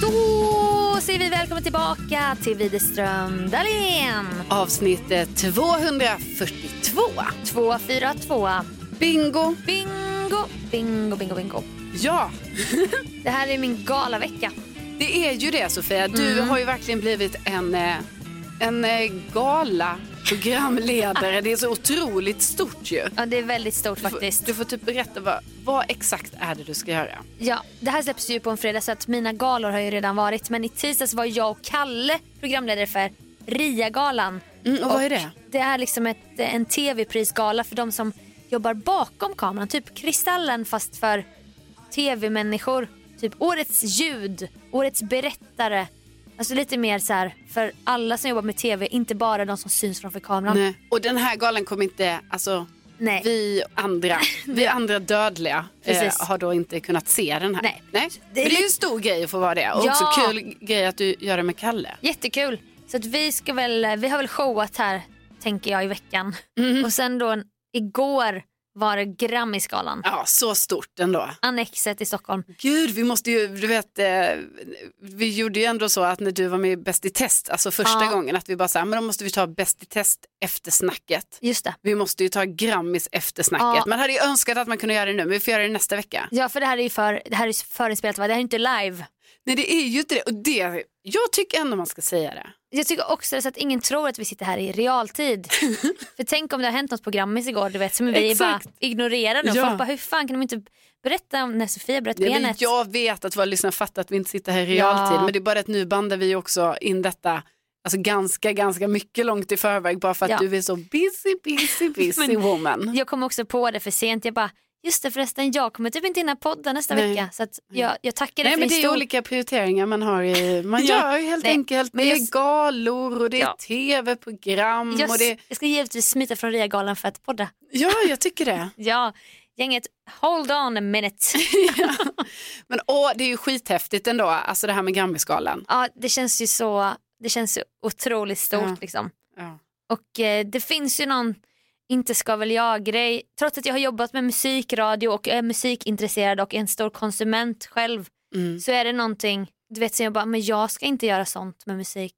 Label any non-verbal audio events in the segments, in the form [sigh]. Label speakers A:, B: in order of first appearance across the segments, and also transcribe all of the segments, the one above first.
A: Då säger vi välkommen tillbaka till Widerström Dahlén.
B: Avsnittet 242.
A: 242.
B: Bingo!
A: Bingo, bingo, bingo, bingo.
B: Ja,
A: Det här är min galavecka.
B: det är ju det Sofia. Du
A: Mm.
B: har ju verkligen blivit en, eh, en eh, gala programledare. Det är så otroligt stort ju.
A: Ja, det är väldigt stort
B: Du får,
A: faktiskt.
B: du får typ berätta vad, vad exakt är det du ska göra.
A: Ja, det här släpps ju på en fredag så att mina galor har ju redan varit. Men i tisdags var jag och Kalle programledare för RIA-galan.
B: och vad är det?
A: Det Mm, är liksom ett, en tv-prisgala för de som jobbar bakom kameran. Typ Kristallen fast för tv-människor. Typ Årets ljud, Årets berättare. Alltså lite mer så här för alla som jobbar med tv, inte bara de som syns framför kameran.
B: Nej. Och den här galan kommer inte, alltså
A: Nej.
B: vi
A: [laughs]
B: andra, vi andra dödliga
A: Precis.
B: eh, har då inte kunnat se den här.
A: Nej.
B: Nej.
A: Det
B: Det,
A: är
B: är det är ju
A: lite-
B: en stor grej att få vara det och
A: Ja.
B: också kul grej att du gör det med Kalle.
A: Jättekul. Så att vi, ska väl, vi har väl showat här, tänker jag, i veckan.
B: Mm.
A: Och sen då igår var det Grammisgalan.
B: Ja, så stort ändå.
A: Annexet i Stockholm.
B: Gud, vi måste ju, du vet, eh, vi gjorde ju ändå så att när du var med i Bäst i test, alltså första
A: Ja.
B: gången, att vi bara så här, men då måste vi ta Bäst i test eftersnacket.
A: Just det.
B: Vi måste ju ta Grammis eftersnacket.
A: Ja.
B: Man hade ju önskat att man kunde göra det nu, men vi får göra det nästa vecka.
A: Ja, för det här är ju för, det här är förinspelat, va? det här är inte live.
B: Nej, det är ju inte det. Och det, jag tycker ändå man ska säga det.
A: Jag tycker också så att ingen tror att vi sitter här i
B: [laughs]
A: realtid. för tänk om det har hänt något på Grammis igår, du vet, som vi bara
B: Exakt.
A: ignorerar nu.
B: Ja.
A: Folk bara, hur fan kan de inte berätta om när Sofia bröt
B: Nej, men
A: benet?
B: jag vet att våra lyssnare fattar att vi inte sitter här i
A: Ja.
B: realtid, men det är bara att nu bandar vi också in detta Alltså ganska, ganska mycket långt i förväg bara för att
A: Ja.
B: du är så busy,
A: [laughs]
B: busy, busy woman.
A: Jag kom också på det för sent. Jag bara, just det förresten, jag kommer typ inte hinna podda nästa
B: Nej.
A: vecka. Så att jag, jag tackar dig
B: Nej
A: för
B: men
A: din
B: det är
A: stor-
B: olika prioriteringar man har i,
A: [laughs]
B: man
A: Ja.
B: gör ju helt
A: Nej,
B: enkelt,
A: men
B: det
A: jag-
B: är galor och det är
A: Ja.
B: tv-program
A: Jag,
B: liksom- och det,
A: jag ska givetvis smita från RIA-galan för att podda.
B: [laughs] ja jag tycker det.
A: Ja, gänget, hold on a
B: [laughs]
A: minute.
B: Men åh, det är ju skithäftigt ändå, alltså det här med Grammisgalan.
A: ja, det känns ju så, det känns ju otroligt stort
B: Ja.
A: liksom.
B: Ja.
A: Och eh, det finns ju någon inte ska väl jag-grej. Trots att jag har jobbat med musik, radio och är musikintresserad och är en stor konsument själv
B: Mm.
A: så är det någonting, du vet som jag bara, men jag ska inte göra sånt med musik.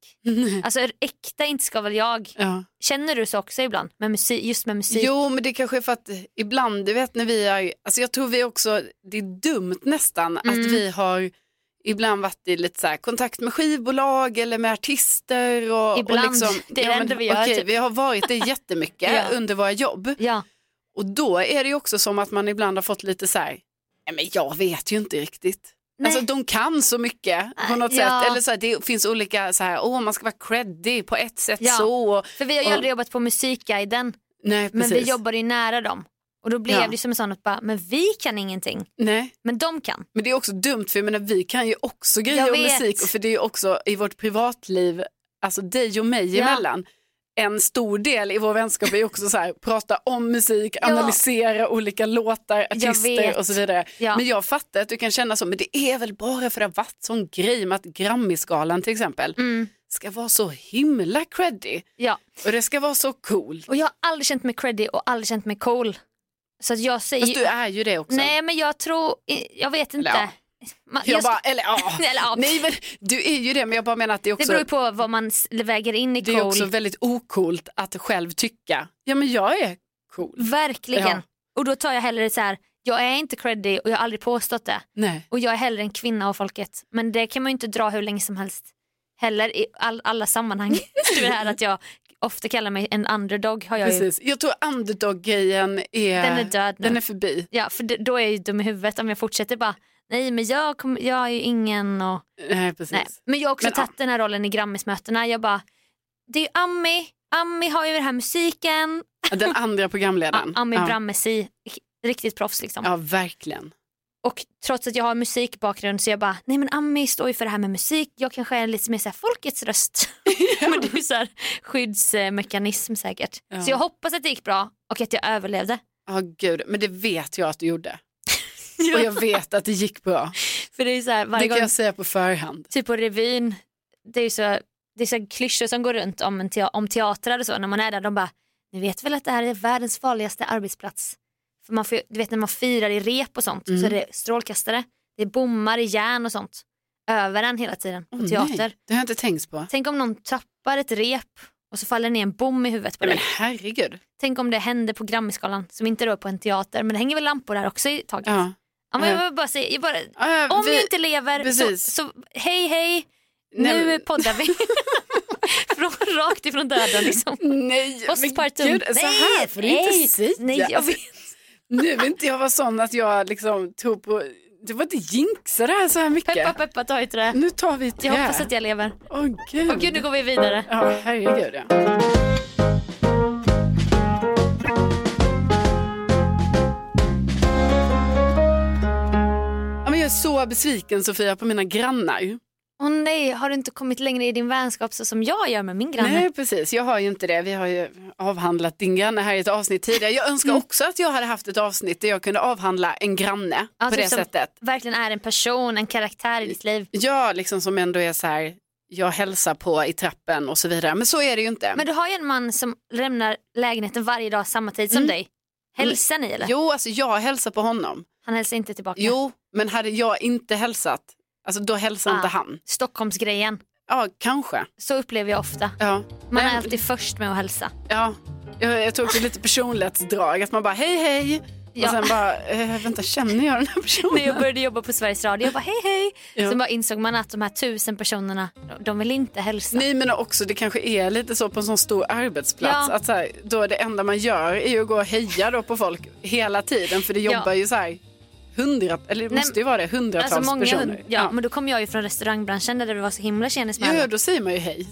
A: Alltså äkta inte ska väl jag.
B: Ja.
A: Känner du så också ibland? Med musik, just med musik?
B: Jo men det kanske är för att ibland, du vet när vi är, alltså jag tror vi också, det är dumt nästan
A: Mm.
B: att vi har ibland varit i lite så här kontakt med skivbolag eller med artister. Och,
A: Ibland.
B: och liksom,
A: Det är det enda vi gör,
B: okej,
A: typ.
B: vi har varit det
A: [laughs]
B: jättemycket
A: Ja.
B: under våra jobb.
A: Ja.
B: Och då är det ju också som att man ibland har fått lite så här, nej men jag vet ju inte riktigt.
A: Nej.
B: Alltså de kan så mycket på
A: Nej,
B: något
A: ja.
B: sätt. Eller så här, det finns olika så här, åh man ska vara creddig på ett sätt
A: Ja.
B: så. Och,
A: För vi har ju
B: och-
A: aldrig jobbat på musikguiden
B: Nej,
A: men
B: precis.
A: vi jobbar ju nära dem. Och då blev
B: Ja.
A: det ju som en sån att bara, men vi kan ingenting,
B: Nej.
A: men de kan.
B: Men det är också dumt för jag menar, vi kan ju också
A: Jag
B: grejer om
A: vet.
B: musik och för det är ju också i vårt privatliv, alltså dig och mig
A: Ja.
B: emellan, en stor del i vår vänskap är ju också så här, prata om musik, analysera olika låtar,
A: vet.
B: artister och så vidare.
A: Ja.
B: Men jag fattar att du kan känna så, men det är väl bara för att det har varit sån grej med att Grammisgalan till exempel
A: Mm.
B: ska vara så himla creddy
A: Ja.
B: och det ska vara så coolt.
A: Och jag har aldrig känt mig creddy och aldrig känt mig cool. Så att jag säger
B: Fast du är ju det också.
A: Nej men jag tror, jag vet inte.
B: Eller ja,
A: man,
B: Jag
A: jag
B: bara,
A: sk-
B: eller ja.
A: [laughs] Eller, ja.
B: Nej men du är ju det men jag bara menar att det är
A: det
B: också,
A: beror ju på vad man s- väger in i
B: det är
A: cool.
B: också väldigt ocoolt att själv tycka, ja men jag är cool.
A: Verkligen.
B: Ja.
A: Och då tar jag hellre så här, jag är inte creddig och jag har aldrig påstått det.
B: Nej.
A: Och jag är hellre en kvinna av folket. Men det kan man ju inte dra hur länge som helst. Heller i all, alla
B: [laughs]
A: sammanhang. det här att jag ofta kallar mig en underdog har jag ju.
B: Precis. Jag tror underdog-grejen är,
A: Den är död nu.
B: den är förbi.
A: Ja, för det- då är jag ju dum i huvudet om jag fortsätter bara, nej men jag, kommer- jag är ju ingen och
B: Nej, precis.
A: Nej. Men jag har också
B: Men,
A: tagit den här rollen i Grammismötena. Jag bara, det är ju Ami, Ami har ju den här musiken,
B: Den
A: [laughs]
B: andra programledaren.
A: Ami
B: ja.
A: Brammesi, riktigt proffs liksom.
B: ja, verkligen.
A: Och trots att jag har musikbakgrund så jag bara, nej men Ami står ju för det här med musik, jag kanske är lite mer så här folkets
B: [laughs]
A: röst. men det är ju så här skyddsmekanism säkert.
B: Ja.
A: Så jag hoppas att det gick bra och att jag överlevde.
B: Ja, gud. Men det vet jag att du gjorde.
A: [laughs]
B: Och jag vet att det gick bra.
A: För det är ju så här, varje
B: Det
A: gång,
B: kan jag säga på förhand.
A: typ på revyn, det är ju så, det är så här klyschor som går runt om, en te- om teatrar och så när man är där, de bara, ni vet väl att det här är världens farligaste arbetsplats. För man får, ju- du vet när man firar i rep och sånt
B: Mm.
A: så är det strålkastare, det är bommar i järn och sånt över en hela tiden på
B: Åh,
A: teater.
B: Nej, det har jag inte tänkt på.
A: Tänk om någon tappar ett rep och så faller ner en bom i huvudet på
B: Nej, men
A: dig.
B: herregud.
A: Tänk om det händer på Grammisgalan som inte rör på en teater men det hänger väl lampor där också i taget. Ja.
B: Ja.
A: men jag
B: Ja.
A: vill bara säga, jag bara,
B: Ja,
A: om
B: vi-
A: jag inte lever så,
B: precis.
A: så hej hej,
B: Nej,
A: nu
B: men-
A: poddar vi. [laughs] Från, rakt ifrån döden liksom.
B: [laughs] Nej,
A: Postpartum.
B: men gud, så här får du inte säga.
A: Nej, jag vet.
B: Nu vill inte jag vara sån att jag liksom tog på, du får inte jinxa det här så här
A: [laughs]
B: mycket.
A: Peppa peppa ta i trä.
B: Nu tar vi ett
A: Jag hoppas att jag lever.
B: Åh gud.
A: Åh gud nu går vi vidare.
B: Ja, herregud ja. Ja, men Jag är så besviken Sofia på mina grannar.
A: Åh nej, har du inte kommit längre i din vänskap så som jag gör med min granne?
B: Nej precis, jag har ju inte det. Vi har ju avhandlat din granne här i ett avsnitt tidigare. Jag önskar
A: Mm.
B: också att jag hade haft ett avsnitt där jag kunde avhandla en granne
A: Ja,
B: på
A: typ
B: det
A: som
B: sättet.
A: Verkligen är en person, en karaktär i ditt liv.
B: Ja, liksom som ändå är så här, jag hälsar på i trappen och så vidare. Men så är det ju inte.
A: Men du har ju en man som lämnar lägenheten varje dag samma tid som dig. Hälsar ni eller?
B: Mm. Jo, alltså jag hälsar på honom.
A: Han hälsar inte tillbaka.
B: Jo, men hade jag inte hälsat, alltså då hälsar
A: Ah.
B: inte han.
A: Stockholmsgrejen.
B: Ja, kanske.
A: Så upplever jag ofta.
B: Ja.
A: Man
B: Nej,
A: är alltid först med att hälsa.
B: ja. Jag, jag tror också lite personlighetsdrag, att man bara hej hej.
A: Ja.
B: Och sen bara, eh, vänta känner jag
A: [laughs]
B: den här personen?
A: När jag började jobba på Sveriges Radio, jag bara hej hej.
B: Ja.
A: Sen bara insåg man att de här tusen personerna, de- de vill inte hälsa.
B: Nej men också det kanske är lite så på en sån stor arbetsplats
A: Ja.
B: att så här, då är det enda man gör är ju att gå och heja då på folk hela tiden för det
A: Ja.
B: jobbar ju så här hundra, eller det
A: Nej,
B: måste ju vara det, hundratals
A: Alltså många,
B: personer.
A: ja, men då kom jag ju från restaurangbranschen där det var så himla tjenis med
B: ja. ja,
A: alla.
B: då säger man ju hej.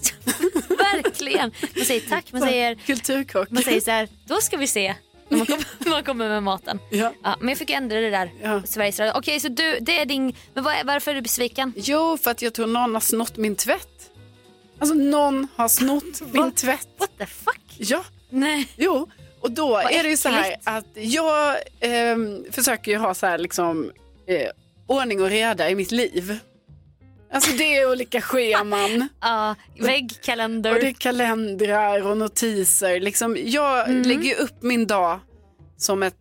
A: Verkligen. Man säger tack, [laughs] man
B: [laughs]
A: säger,
B: Kulturkock.
A: man säger så här, då ska vi se. [laughs] När man kommer, man kommer med maten.
B: Ja.
A: Ja, men jag fick ändra det där.
B: Ja.
A: Sveriges Radio. Okej, så du, det är din... Men vad, är- varför är du besviken?
B: [laughs] Jo, för att jag tror någon har snott min tvätt. Alltså någon har snott min tvätt.
A: What the fuck?
B: Ja,
A: Nej.
B: jo. Och då är det ju så här
A: äckligt.
B: att jag ehm, försöker ju ha så här liksom eh, ordning och reda i mitt liv. Alltså det är olika scheman
A: Ja,
B: och det är
A: väggkalender.
B: kalendrar och notiser. Liksom, jag lägger ju upp min dag som ett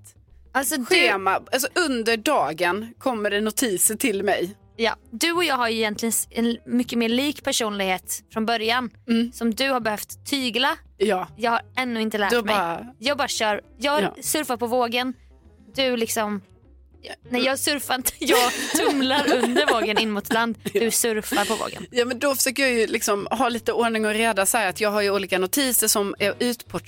A: Alltså du,
B: schema. Alltså under dagen kommer det notiser till mig.
A: ja, du och jag har ju egentligen s- en mycket mer lik personlighet från början.
B: Mm.
A: Som du har behövt tygla.
B: Ja,
A: Jag har ännu inte lärt
B: Då
A: mig.
B: bara-
A: Jag bara kör. Jag
B: Ja.
A: surfar på vågen. Du liksom... Nej, jag surfar inte. [laughs] Jag
B: [laughs]
A: tumlar under vågen in mot land. Du surfar på vågen.
B: Ja, men då försöker jag ju liksom ha lite ordning och reda så här att jag har ju olika notiser som är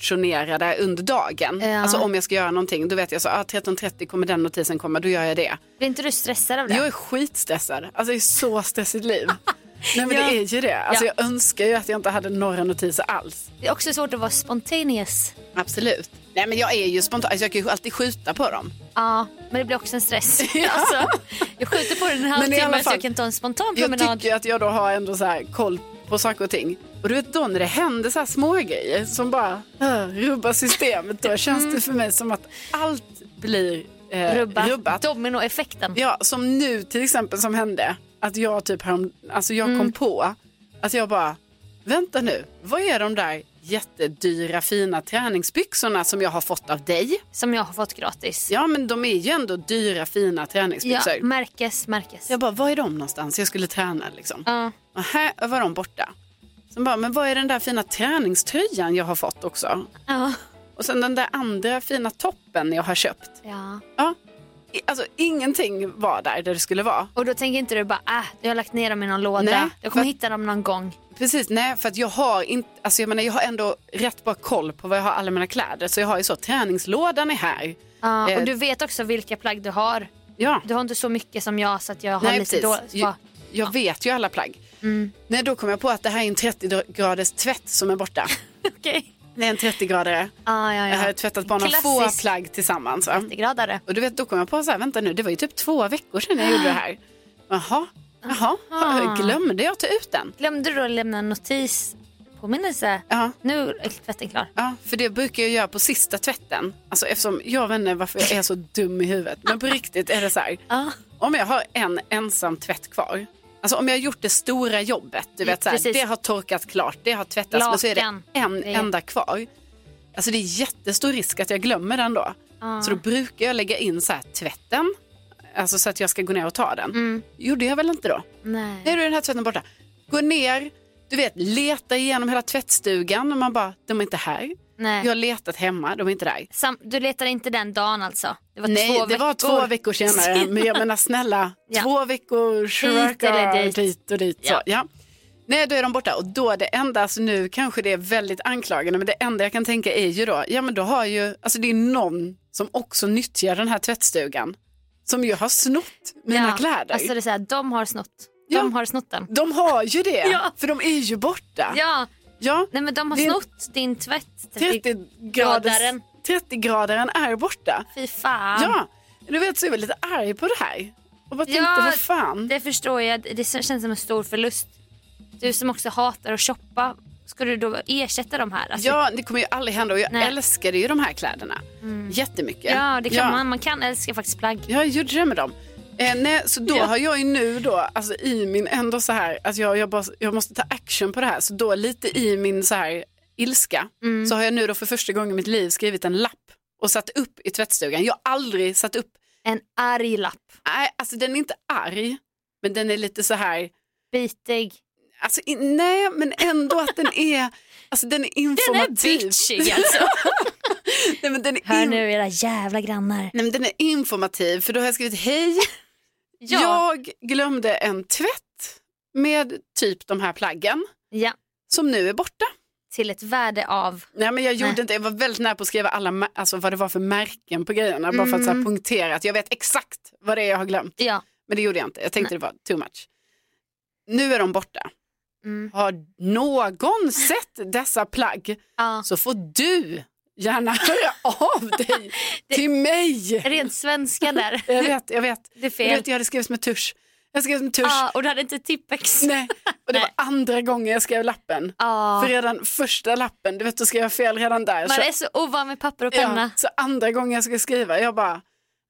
B: utportionerade under dagen.
A: Ja.
B: Alltså om jag ska göra någonting, då vet jag så ah, 13.30 kommer den notisen komma, då gör jag det.
A: Blir inte du stressad av det?
B: Jag är skitstressad, alltså det är så stressigt [laughs] liv. Nej men
A: Ja.
B: det är ju det. Alltså
A: Ja.
B: jag önskar ju att jag inte hade några notiser alls.
A: Det är också svårt att vara spontaneous.
B: Absolut. Nej men jag är ju spontan, alltså jag kan ju alltid skjuta på dem.
A: Ja, men det blir också en
B: [laughs]
A: stress. Alltså, jag skjuter på den en
B: i alla
A: halvtimme så
B: fall,
A: jag kan ta en spontan
B: Jag
A: promenad.
B: tycker att jag då har ändå så här koll på saker och ting. Och du vet då när det händer så här små grejer som bara uh, rubbar systemet då känns
A: Mm.
B: det för mig som att allt blir eh,
A: Rubba.
B: rubbat.
A: Dominoeffekten.
B: Ja, som nu till exempel som hände att
A: Mm.
B: jag typ härom, alltså jag kom på att jag bara vänta nu, vad är de där jättedyra fina träningsbyxorna som jag har fått av dig.
A: Som jag har fått gratis.
B: Ja men de är ju ändå dyra fina
A: Ja,
B: träningsbyxor.
A: märkes, märkes.
B: Så jag bara, var är de någonstans? Jag skulle träna liksom.
A: Ja.
B: Och här var de borta. Sen bara, men vad är den där fina träningströjan jag har fått också?
A: Ja.
B: Och sen den där andra fina toppen jag har köpt.
A: ja.
B: Ja. I- Alltså ingenting var där där det skulle vara.
A: Och då tänker inte du bara, äh, jag har lagt ner dem i någon låda.
B: Nej,
A: jag kommer
B: för-
A: hitta dem någon gång.
B: Precis, nej för att jag har inte, alltså jag menar jag har ändå rätt bra koll på vad jag har alla mina kläder. Så jag har ju så, träningslådan är här.
A: Ja,
B: Eh.
A: och du vet också vilka plagg du har.
B: Ja.
A: Du har inte så mycket som jag så att jag har lite dåligt. Mm.
B: Jag, jag vet ju alla plagg. Nej, då kom jag på att det här är en 30-graders tvätt som
A: [laughs]
B: är borta.
A: [laughs] Okej.
B: Det är en 30-gradare.
A: Ah, ja, ja.
B: Jag har tvättat bara några få
A: Klassisk
B: plagg tillsammans. Va?
A: 30-gradare.
B: Och du vet, då kom jag på så här, vänta nu, det var ju typ två veckor sedan jag gjorde det här. Jaha, jaha,
A: Aha.
B: glömde jag ta ut den?
A: Glömde du då lämna en notis? Påminnelse?
B: Ja.
A: Nu är tvätten klar.
B: Ja, för det brukar jag göra på sista tvätten. Alltså eftersom, jag vet inte varför jag är så dum i huvudet, men på riktigt är det så här.
A: Ja.
B: Om jag har en ensam tvätt kvar, alltså om jag har gjort det stora jobbet, du vet så här,
A: Precis.
B: det har torkat klart, det har tvättats, men så är det
A: Lakan.
B: en
A: Det är-
B: enda kvar. Alltså det är jättestor risk att jag glömmer den då. Så då brukar jag lägga in så här tvätten, alltså så att jag ska gå ner och ta den. Gjorde jag väl inte då?
A: Mm. Nej.
B: Nej, då är den här tvätten borta. Gå ner, du vet, leta igenom hela tvättstugan och man bara, de är inte här.
A: Nej.
B: Jag har letat hemma, de är inte där.
A: Sam, du letade inte den dagen alltså? Det var
B: Nej,
A: två
B: det
A: veckor.
B: var två veckor senare. Men jag menar snälla,
A: [laughs] Ja.
B: två veckor,
A: eller
B: shuraka,
A: dit.
B: dit och dit. Så,
A: Ja.
B: ja. Nej, då är de borta och då är det enda, alltså nu kanske det är väldigt anklagande, men det enda jag kan tänka är ju då, ja men då har ju, alltså det är någon som också nyttjar den här tvättstugan, som ju har snott mina
A: Ja,
B: kläder.
A: Alltså det är så här, de har snott. De
B: Ja.
A: har snott den.
B: De har ju det,
A: [laughs] Ja.
B: för de är ju borta.
A: Ja,
B: Ja.
A: nej men de har
B: Det är-
A: snott din tvätt.
B: 30-gradaren 30 gradaren är borta.
A: Fy fan.
B: Ja, du vet så är jag lite arg på det här. Och bara
A: Ja,
B: tänkte, vad fan.
A: Det förstår jag. Det känns som en stor förlust. Du som också hatar att shoppa. Ska du då ersätta de här? Alltså,
B: Ja, det kommer ju aldrig hända och jag
A: Nej. Mm.
B: älskade ju de här kläderna jättemycket.
A: ja, det kan man. Man kan älska faktiskt plagg.
B: Jag gjorde det med dem. Eh, nej, så då
A: Ja.
B: har jag ju nu då, alltså i min ändå så här, alltså jag, jag, bara, jag måste ta action på det här. Så då lite i min så här ilska
A: Mm.
B: så har jag nu då för första gången i mitt liv skrivit en lapp och satt upp i tvättstugan. Jag har aldrig satt upp,
A: En arg lapp.
B: nej alltså den är inte arg, men den är lite så här,
A: Bitig.
B: Alltså, i, nej, men ändå att den är, alltså, den är
A: Den är
B: informativ.
A: [laughs] bitchig alltså.
B: [laughs] nej, men den, är
A: Hör
B: in,
A: nu
B: nej,
A: era jävla grannar.
B: men den är informativ, för då har jag skrivit hej,
A: Ja. Ja.
B: jag glömde en tvätt med typ de här plaggen som nu är borta.
A: Till ett värde av.
B: Nej, men jag gjorde
A: Nej.
B: inte, jag var väldigt nära på att skriva alla, ma- alltså, vad det var för märken på grejerna, bara för att så
A: Mm.
B: här, punktera att jag vet exakt vad det är jag har glömt.
A: Ja.
B: Men det gjorde jag inte, jag tänkte det var too much. Nu är de borta.
A: Mm.
B: Har någon sett dessa plagg?
A: ja.
B: så får du gärna [laughs] höra av
A: [laughs]
B: dig till mig.
A: Rent svenska där.
B: [laughs]
A: [laughs]
B: Jag vet, jag vet.
A: Det är
B: Jag,
A: fel.
B: vet jag hade skrivit med tusch. Jag skrev med tusch.
A: Ja, och du hade inte tippex.
B: [laughs] Nej. Och det
A: Nej.
B: var andra gången jag skrev lappen.
A: Ja.
B: För redan första lappen, du vet, då skrev jag fel redan där.
A: Man är så ovan med papper och penna.
B: alltså- ja, så andra gången jag ska skriva, jag bara,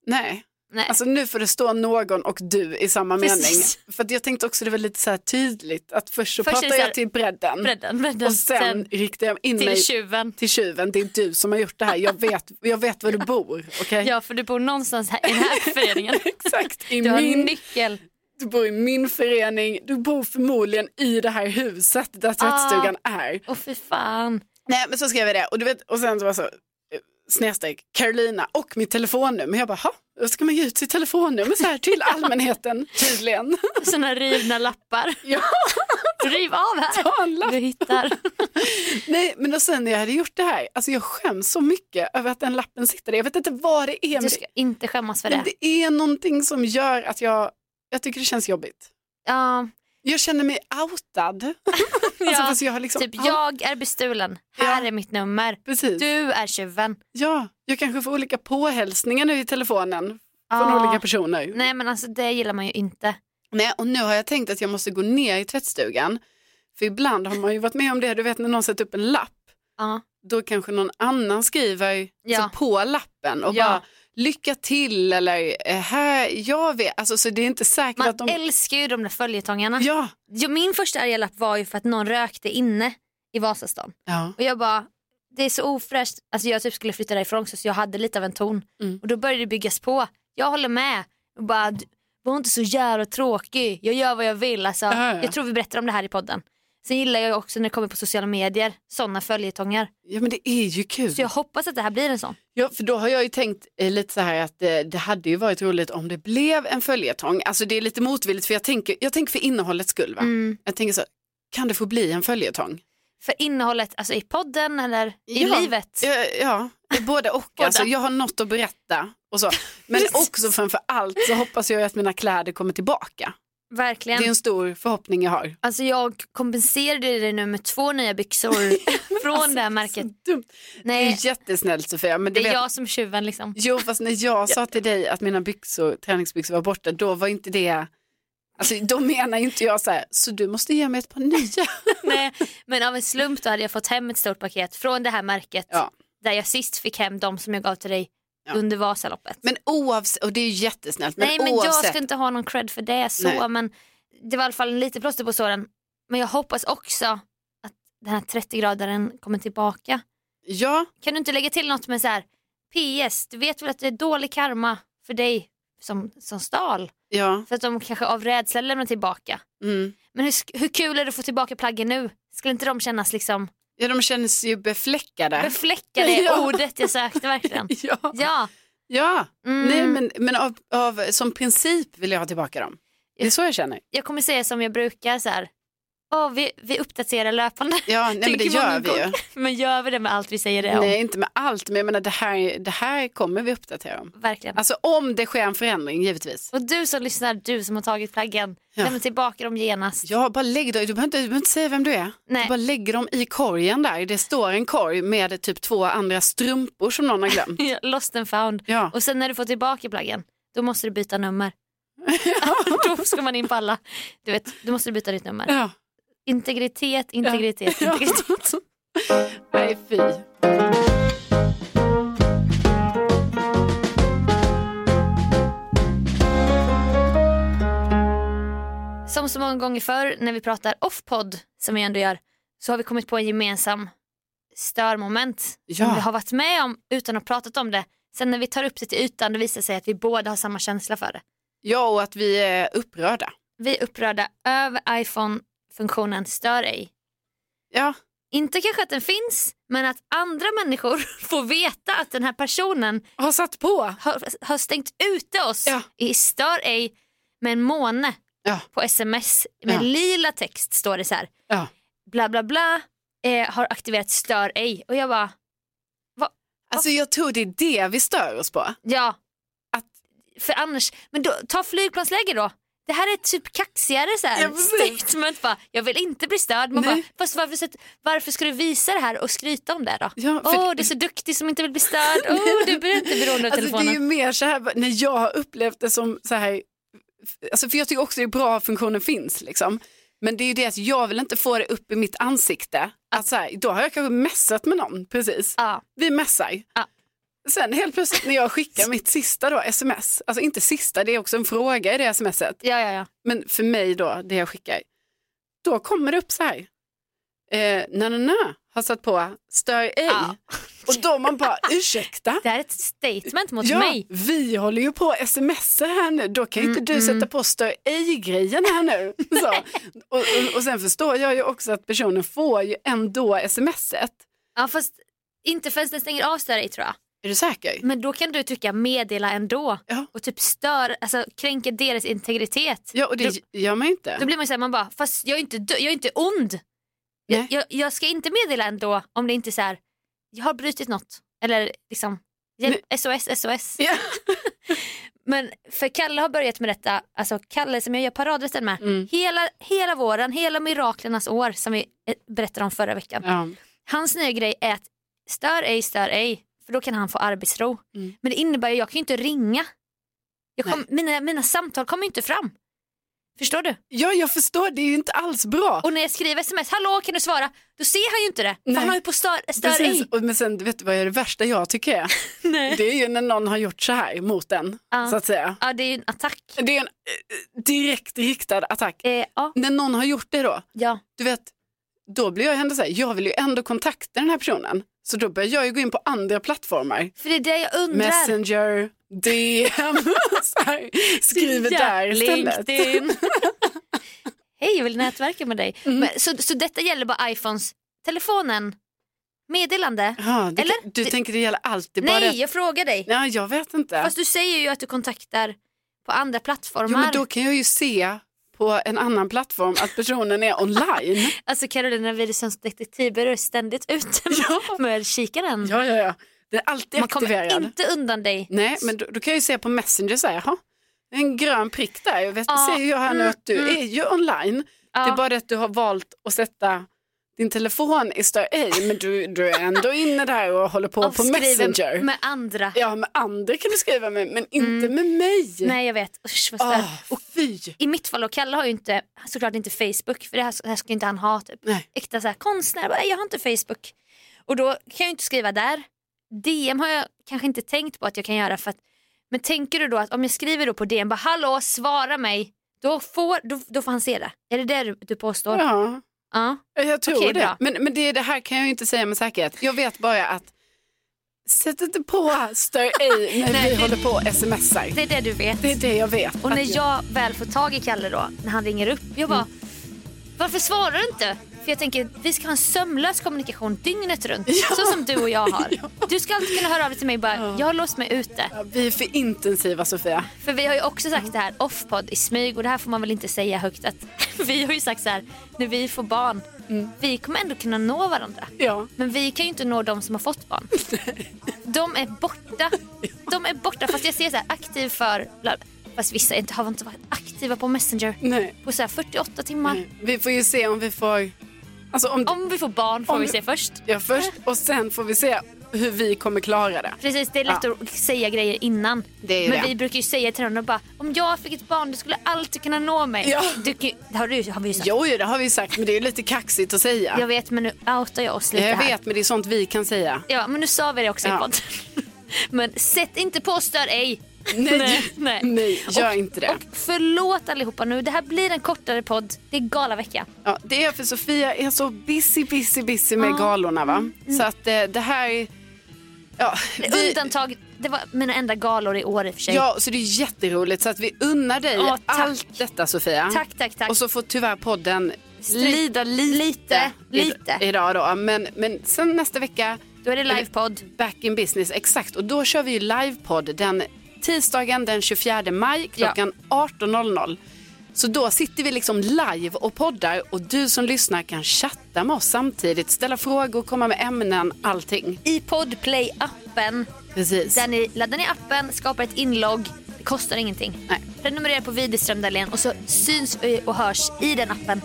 B: nej.
A: Nej.
B: Alltså nu får det stå någon och du i samma
A: Precis.
B: mening. För att jag tänkte också det var lite så här tydligt att först så
A: Först är det
B: pratar
A: så
B: jag
A: här-
B: till bredden,
A: Bredden, bredden.
B: och sen, riktar jag in mig
A: till tjuven.
B: till tjuven, det är du som har gjort det här, jag vet, jag vet var du bor. okej?
A: Ja, för du bor någonstans här i den
B: [laughs]
A: här föreningen.
B: Exakt, i
A: Du har en
B: min,
A: nyckel.
B: du bor i min förening, du bor förmodligen i det här huset där tvättstugan
A: Ah.
B: är.
A: Åh fy fan.
B: Nej men så skrev jag det och, du vet, och sen så var det så, eh, snedstreck, Carolina och mitt telefonnummer. Jag bara, ha, då ska man ge ut sitt telefonnummer så
A: [laughs]
B: här till allmänheten tydligen.
A: Såna rivna lappar.
B: Ja.
A: Riv av här.
B: Ta en lapp.
A: Du hittar.
B: [laughs] Nej men och sen när jag hade gjort det här, alltså jag skäms så mycket över att den lappen sitter där. Jag vet inte vad det är,
A: Du
B: men
A: ska inte skämmas för
B: det, men
A: det.
B: det är någonting som gör att jag, jag tycker det känns jobbigt.
A: Ja,
B: Jag känner mig outad. Alltså,
A: Ja,
B: fast jag har liksom
A: typ
B: out-
A: jag är bestulen. Här
B: Ja.
A: är mitt nummer.
B: Precis.
A: Du är tjuven.
B: Ja, jag kanske får olika påhälsningar nu i telefonen från
A: Ja.
B: olika personer.
A: Nej men alltså det gillar man ju inte.
B: Nej, och nu har jag tänkt att jag måste gå ner i tvättstugan. För ibland har man ju varit med om det, du vet när någon sätter upp en lapp,
A: Ja.
B: då kanske någon annan skriver
A: Ja.
B: så på lappen och
A: Ja.
B: bara lycka till eller "Eh, här, jag vet, alltså så det är inte säkert
A: Man
B: att de...
A: älskar ju de där följetongarna.
B: Ja,
A: Ja, min första arga lapp var ju för att någon rökte inne i Vasastan.
B: Ja.
A: Och jag bara, det är så ofräscht. Alltså jag typ skulle flytta därifrån också, så jag hade lite av en ton.
B: Mm.
A: Och då började det byggas på. Jag håller med. Och bara, "Du- var inte så jävla tråkig. Jag gör vad jag vill. Alltså,
B: Ja, ja.
A: Jag tror vi berättar om det här i podden. Sen gillar jag också när det kommer på sociala medier, sådana följetonger.
B: ja men det är ju kul.
A: Så jag hoppas att det här blir en sån.
B: Ja, för då har jag ju tänkt eh, lite så här att eh, det hade ju varit roligt om det blev en följetong. Alltså det är lite motvilligt för jag tänker, jag tänker för innehållets skull. Va?
A: Mm.
B: Jag tänker så, kan det få bli en följetong?
A: För innehållet, alltså i podden eller i
B: Ja.
A: livet.
B: Ja, ja. både och. Alltså, jag har något att berätta. Och så. Men också framför allt så hoppas jag ju att mina kläder kommer tillbaka.
A: Verkligen.
B: Det är en stor förhoppning jag har.
A: Alltså jag kompenserade det nu med två nya
B: [laughs]
A: byxor från det här märket.
B: Dumt. Det
A: Nej,
B: är jättesnällt Sofia. Men
A: det
B: du
A: är
B: alltså, vet,
A: jag som är tjuven liksom.
B: Jo, fast när jag sa till dig att mina byxor, träningsbyxor var borta, då var inte det, alltså då menar inte jag så här, så du måste ge mig ett
A: [laughs]
B: par nya.
A: Nej, men av en slump då hade jag fått hem ett stort paket från det här märket
B: Ja.
A: där jag sist fick hem de som jag gav till dig under Vasaloppet.
B: Men oavsett, och det är ju jättesnällt, men,
A: Nej men
B: oavsett.
A: jag ska inte ha någon cred för det så
B: Nej.
A: men det var i alla fall lite plåster på såren. Men jag hoppas också att den här 30-gradaren kommer tillbaka.
B: Ja,
A: Kan du inte lägga till något med så här PS, du vet väl att det är dålig karma för dig som, som stal?
B: ja,
A: För att de kanske av rädsla lämnar tillbaka.
B: mm.
A: Men hur, sk- hur kul är det att få tillbaka plaggen nu? Skulle inte de kännas liksom
B: ja, de känns ju befläckade.
A: befläckade? är
B: Ja.
A: Ordet jag sökte verkligen.
B: [laughs] ja,
A: Ja,
B: ja.
A: Mm.
B: Nej, men, men av, av, som princip vill jag ha tillbaka dem. Det är så jag känner.
A: jag kommer säga som jag brukar så här. Åh, vi, vi uppdaterar löpande.
B: Ja, nej, men det
A: Tänker man
B: gör
A: någon
B: vi ju.
A: gång. [laughs] Men gör vi det med allt vi säger det om?
B: Nej, inte med allt, men jag menar det här, det här kommer vi uppdatera om.
A: Verkligen.
B: Alltså om det sker en förändring, givetvis.
A: Och du som lyssnar, du som har tagit plaggen, lämna tillbaka dem genast.
B: Ja, bara lägg dem. Du behöver inte, du behöver inte säga vem du är.
A: Nej.
B: Du bara lägger dem i korgen där. Det står en korg med typ två andra strumpor som någon har glömt.
A: Ja, [laughs] Lost and found.
B: Ja.
A: Och sen när du får tillbaka plaggen, då måste du byta
B: [laughs]
A: nummer. [laughs] då ska man in på alla. Du vet, då måste du byta ditt nummer.
B: [laughs] ja.
A: Integritet, integritet, integritet.
B: [laughs] Nej, fy.
A: Som så många gånger förr när vi pratar off-podd, som vi ändå gör, så har vi kommit på en gemensam störmoment som
B: Ja.
A: vi har varit med om utan att ha pratat om det. Sen när vi tar upp det till ytan det visar det sig att vi båda har samma känsla för det.
B: Ja, och att vi är upprörda.
A: Vi är upprörda över iPhone-funktionen stör ej.
B: Ja,
A: Inte kanske att den finns, men att andra människor [laughs] får veta att den här personen
B: har satt på.
A: har, har stängt ute oss
B: Ja.
A: i Stör ej med en måne
B: Ja.
A: på sms med
B: Ja.
A: lila text står det så här.
B: Ja.
A: Bla bla bla eh, har aktiverat Stör ej och jag bara
B: Alltså jag tror det är det vi stör oss på.
A: ja. För annars, men då, ta flygplansläge då. Det här är typ kaxigare så här,
B: Ja, precis.
A: statement bara, jag vill inte bli störd. Man
B: Nej.
A: bara, fast varför, sätt- varför ska du visa det här och skryta om det då?
B: Ja,
A: Åh,
B: för-
A: du är så duktig som inte vill bli
B: [laughs]
A: störd. Åh, du blir inte beroende av
B: Alltså, det
A: telefonen.
B: är ju mer så här, när jag har upplevt det som så här, alltså, för jag tycker också det är bra att funktionen finns liksom. Men det är ju det att jag vill inte få det upp i mitt ansikte. Att så här, då har jag kanske messat med någon, precis.
A: Ja.
B: Vi messar.
A: Ja.
B: Sen helt plötsligt när jag skickar mitt sista då, sms, alltså inte sista, det är också en fråga i det smset,
A: Ja, ja, ja.
B: men för mig då, det jag skickar, då kommer det upp så här. Eh, na, na, na, har satt på stör ej.
A: Ja.
B: Och då man bara ursäkta.
A: Det här är ett statement mot
B: Ja,
A: mig.
B: vi håller ju på att smsar här nu. Då kan ju inte
A: Mm,
B: du sätta på stör ej-grejen
A: [laughs]
B: här nu. Så. och, och, och sen förstår jag ju också att personen får ju ändå smset.
A: Ja, fast inte förrän den stänger av stör dig tror jag.
B: Är du säker?
A: Men då kan du trycka meddela ändå
B: Ja.
A: och typ stör, alltså kränker deras integritet.
B: Ja, och det gör man ju inte.
A: Då blir man ju såhär, man bara, fast jag är inte, dö- jag är inte ond. Jag,
B: Nej.
A: jag, jag ska inte meddela ändå om det inte är så här, jag har brutit något. Eller liksom, hjälp, SOS, SOS.
B: Ja.
A: Men för Kalle har börjat med detta, alltså Kalle som jag gör paradrätten med,
B: Mm.
A: hela, hela våren, hela miraklernas år som vi eh, berättade om förra veckan.
B: Ja.
A: Hans nya grej är att stör ej, stör ej, för då kan han få arbetsro.
B: Mm.
A: Men det innebär ju jag kan ju inte ringa. Jag kom, mina, mina samtal kommer ju inte fram. Förstår du?
B: ja, jag förstår. Det är ju inte alls bra.
A: Och när jag skriver sms, hallå kan du svara? Då ser han ju inte det. För
B: Nej.
A: han har ju på stör, stör
B: Precis.
A: ej.
B: Och, men sen, vet du vad är det värsta jag tycker
A: [laughs]
B: är? Det är ju när någon har gjort så här mot en,
A: Ja.
B: så att säga.
A: Ja det är ju en attack.
B: Det är en eh, direkt riktad attack.
A: Eh, ja.
B: När någon har gjort det då,
A: ja.
B: du vet, då blir jag ändå så här, jag vill ju ändå kontakta den här personen. Så då börjar jag ju gå in på andra plattformar.
A: För det är det jag undrar.
B: Messenger, DM, [laughs] så här, skriver
A: Ja,
B: där istället.
A: LinkedIn. Hej, jag vill nätverka med dig.
B: Mm.
A: Men, så, så detta gäller bara iPhones, telefonen, meddelande?
B: [laughs] Ja, det,
A: Eller?
B: Du
A: Det-
B: tänker det gäller alltid bara
A: Nej, jag frågar dig.
B: Nej, jag vet inte.
A: Fast du säger ju att du kontaktar på andra plattformar.
B: jo, men då kan jag ju se på en annan plattform att personen
A: [laughs]
B: är online.
A: Alltså Carolina Widerströms detektivbyrå är ständigt
B: [laughs]
A: ute med, med kikaren.
B: ja, ja, ja. Den är alltid
A: Man
B: aktiverad.
A: kommer inte undan dig.
B: Nej, men då, då kan jag ju se på Messenger så här, jaha, en grön prick där. Jag vet,
A: Ja,
B: ser ju här nu
A: mm,
B: att du
A: mm.
B: är ju online. Det är bara det att du har valt att sätta din telefon i stör ej, men du, du är ändå inne där och håller på på
A: Avskriven
B: Messenger.
A: Med andra.
B: Ja, med andra kan du skriva med, men inte med mig.
A: Nej jag vet, usch vad stört.
B: Ah, fy.
A: I mitt fall och Kalle har ju inte, såklart inte Facebook för det här, det här ska ju inte han ha typ.
B: Nej.
A: Äkta så här, konstnär, bara, "Nej, jag har inte Facebook. Och då kan jag ju inte skriva där. DM har jag kanske inte tänkt på att jag kan göra för att, men tänker du då att om jag skriver då på DM, bara hallå svara mig, då får, då, då får han se det. Är det det du, du påstår? Ja.
B: Ja. Ja, Jag tror
A: Okej,
B: det.
A: bra.
B: Men, men det, det här kan jag ju inte säga med säkerhet. Jag vet bara att sätt inte på stör ej när
A: Nej,
B: vi
A: det-
B: håller på och smsar.
A: Det är det du vet.
B: Det är det jag vet.
A: Och
B: att
A: när jag väl får tag i Kalle då, när han ringer upp, jag bara, varför svarar du inte? För jag tänker, vi ska ha en sömlös kommunikation dygnet runt, så som du och jag har. Du ska alltid kunna höra av dig till mig bara, jag har låst mig ute.
B: Ja, Vi är för intensiva Sofia.
A: För vi har ju också sagt det här offpod i smyg och det här får man väl inte säga högt att [laughs] vi har ju sagt så här, när vi får barn, vi kommer ändå kunna nå varandra.
B: Mm. Ja.
A: Men vi kan ju inte nå de som har fått
B: [laughs]
A: barn. De är borta. De är borta fast jag ser så här aktiv för, bla- fast vissa inte, har inte varit aktiva på Messenger
B: Nej.
A: på så här 48 timmar.
B: Vi får ju se om vi får... Alltså om...
A: Om vi får barn får
B: Om
A: vi
B: vi-
A: se först.
B: Ja, först och sen får vi se hur vi kommer klara det.
A: Precis, det är lätt att säga grejer innan.
B: Det är ju
A: Men
B: det.
A: vi brukar ju säga till honom bara, om jag fick ett barn du skulle alltid kunna nå mig.
B: Ja.
A: Du, kan ju- det har, du, har vi ju sagt.
B: Jo, jo, det har vi sagt, men det är ju lite kaxigt att säga.
A: Jag vet men nu outar jag oss lite
B: jag
A: här.
B: vet men det är sånt vi kan säga.
A: Ja men nu sa vi det också i
B: Ja.
A: podden. [laughs] Men sätt inte på stör ej.
B: Nej.
A: [laughs] nej.
B: Nej, gör
A: Och-
B: inte det.
A: Och förlåt allihopa nu, det här blir en kortare podd. Det är galavecka.
B: Ja, det är för Sofia är så busy, busy, busy med galorna. Va? Så att eh, det här... Ja,
A: Mm. Det är
B: vi-
A: Undantag, det var mina enda galor i år i och för sig.
B: Ja, så det är jätteroligt. Så att vi unnar dig
A: Ja, tack.
B: allt detta Sofia.
A: Tack, tack, tack.
B: Och så får tyvärr podden
A: Stryk-
B: lida lite,
A: lite,
B: i-
A: lite.
B: idag då. Men, men sen nästa vecka
A: Då är det livepodd.
B: Back in business, exakt. Och då kör vi ju livepodd den tisdagen den 24 maj klockan 18.00. Så då sitter vi liksom live och poddar och du som lyssnar kan chatta med oss samtidigt, ställa frågor, komma med ämnen, allting.
A: I Podplay-appen.
B: Precis.
A: Där ni laddar ner appen, skapar ett inlogg. Det kostar ingenting.
B: Nej.
A: Prenumerera på Widerström Dahlén och så syns vi och hörs i den appen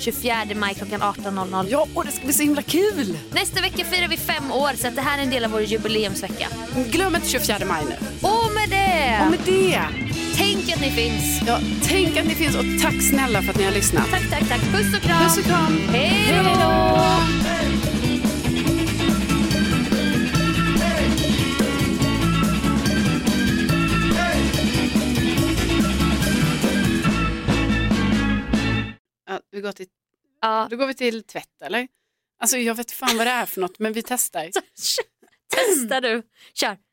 A: 24 maj klockan 18.00.
B: Ja, och det ska bli så himla kul!
A: Nästa vecka firar vi fem år så att det här är en del av vår jubileumsvecka.
B: Glöm inte 24 maj nu.
A: Och med det,
B: Och med det,
A: tänk att ni finns.
B: ja, tänk att ni finns och tack snälla för att ni har lyssnat.
A: Tack, tack, tack. Puss och kram.
B: Puss och kram!
A: Hej då!
B: Ja, vi går till,
A: Ja.
B: då går vi till tvätt [laughs] eller? Alltså jag vet fan vad det är för något men vi testar.
A: Testa du. Kör.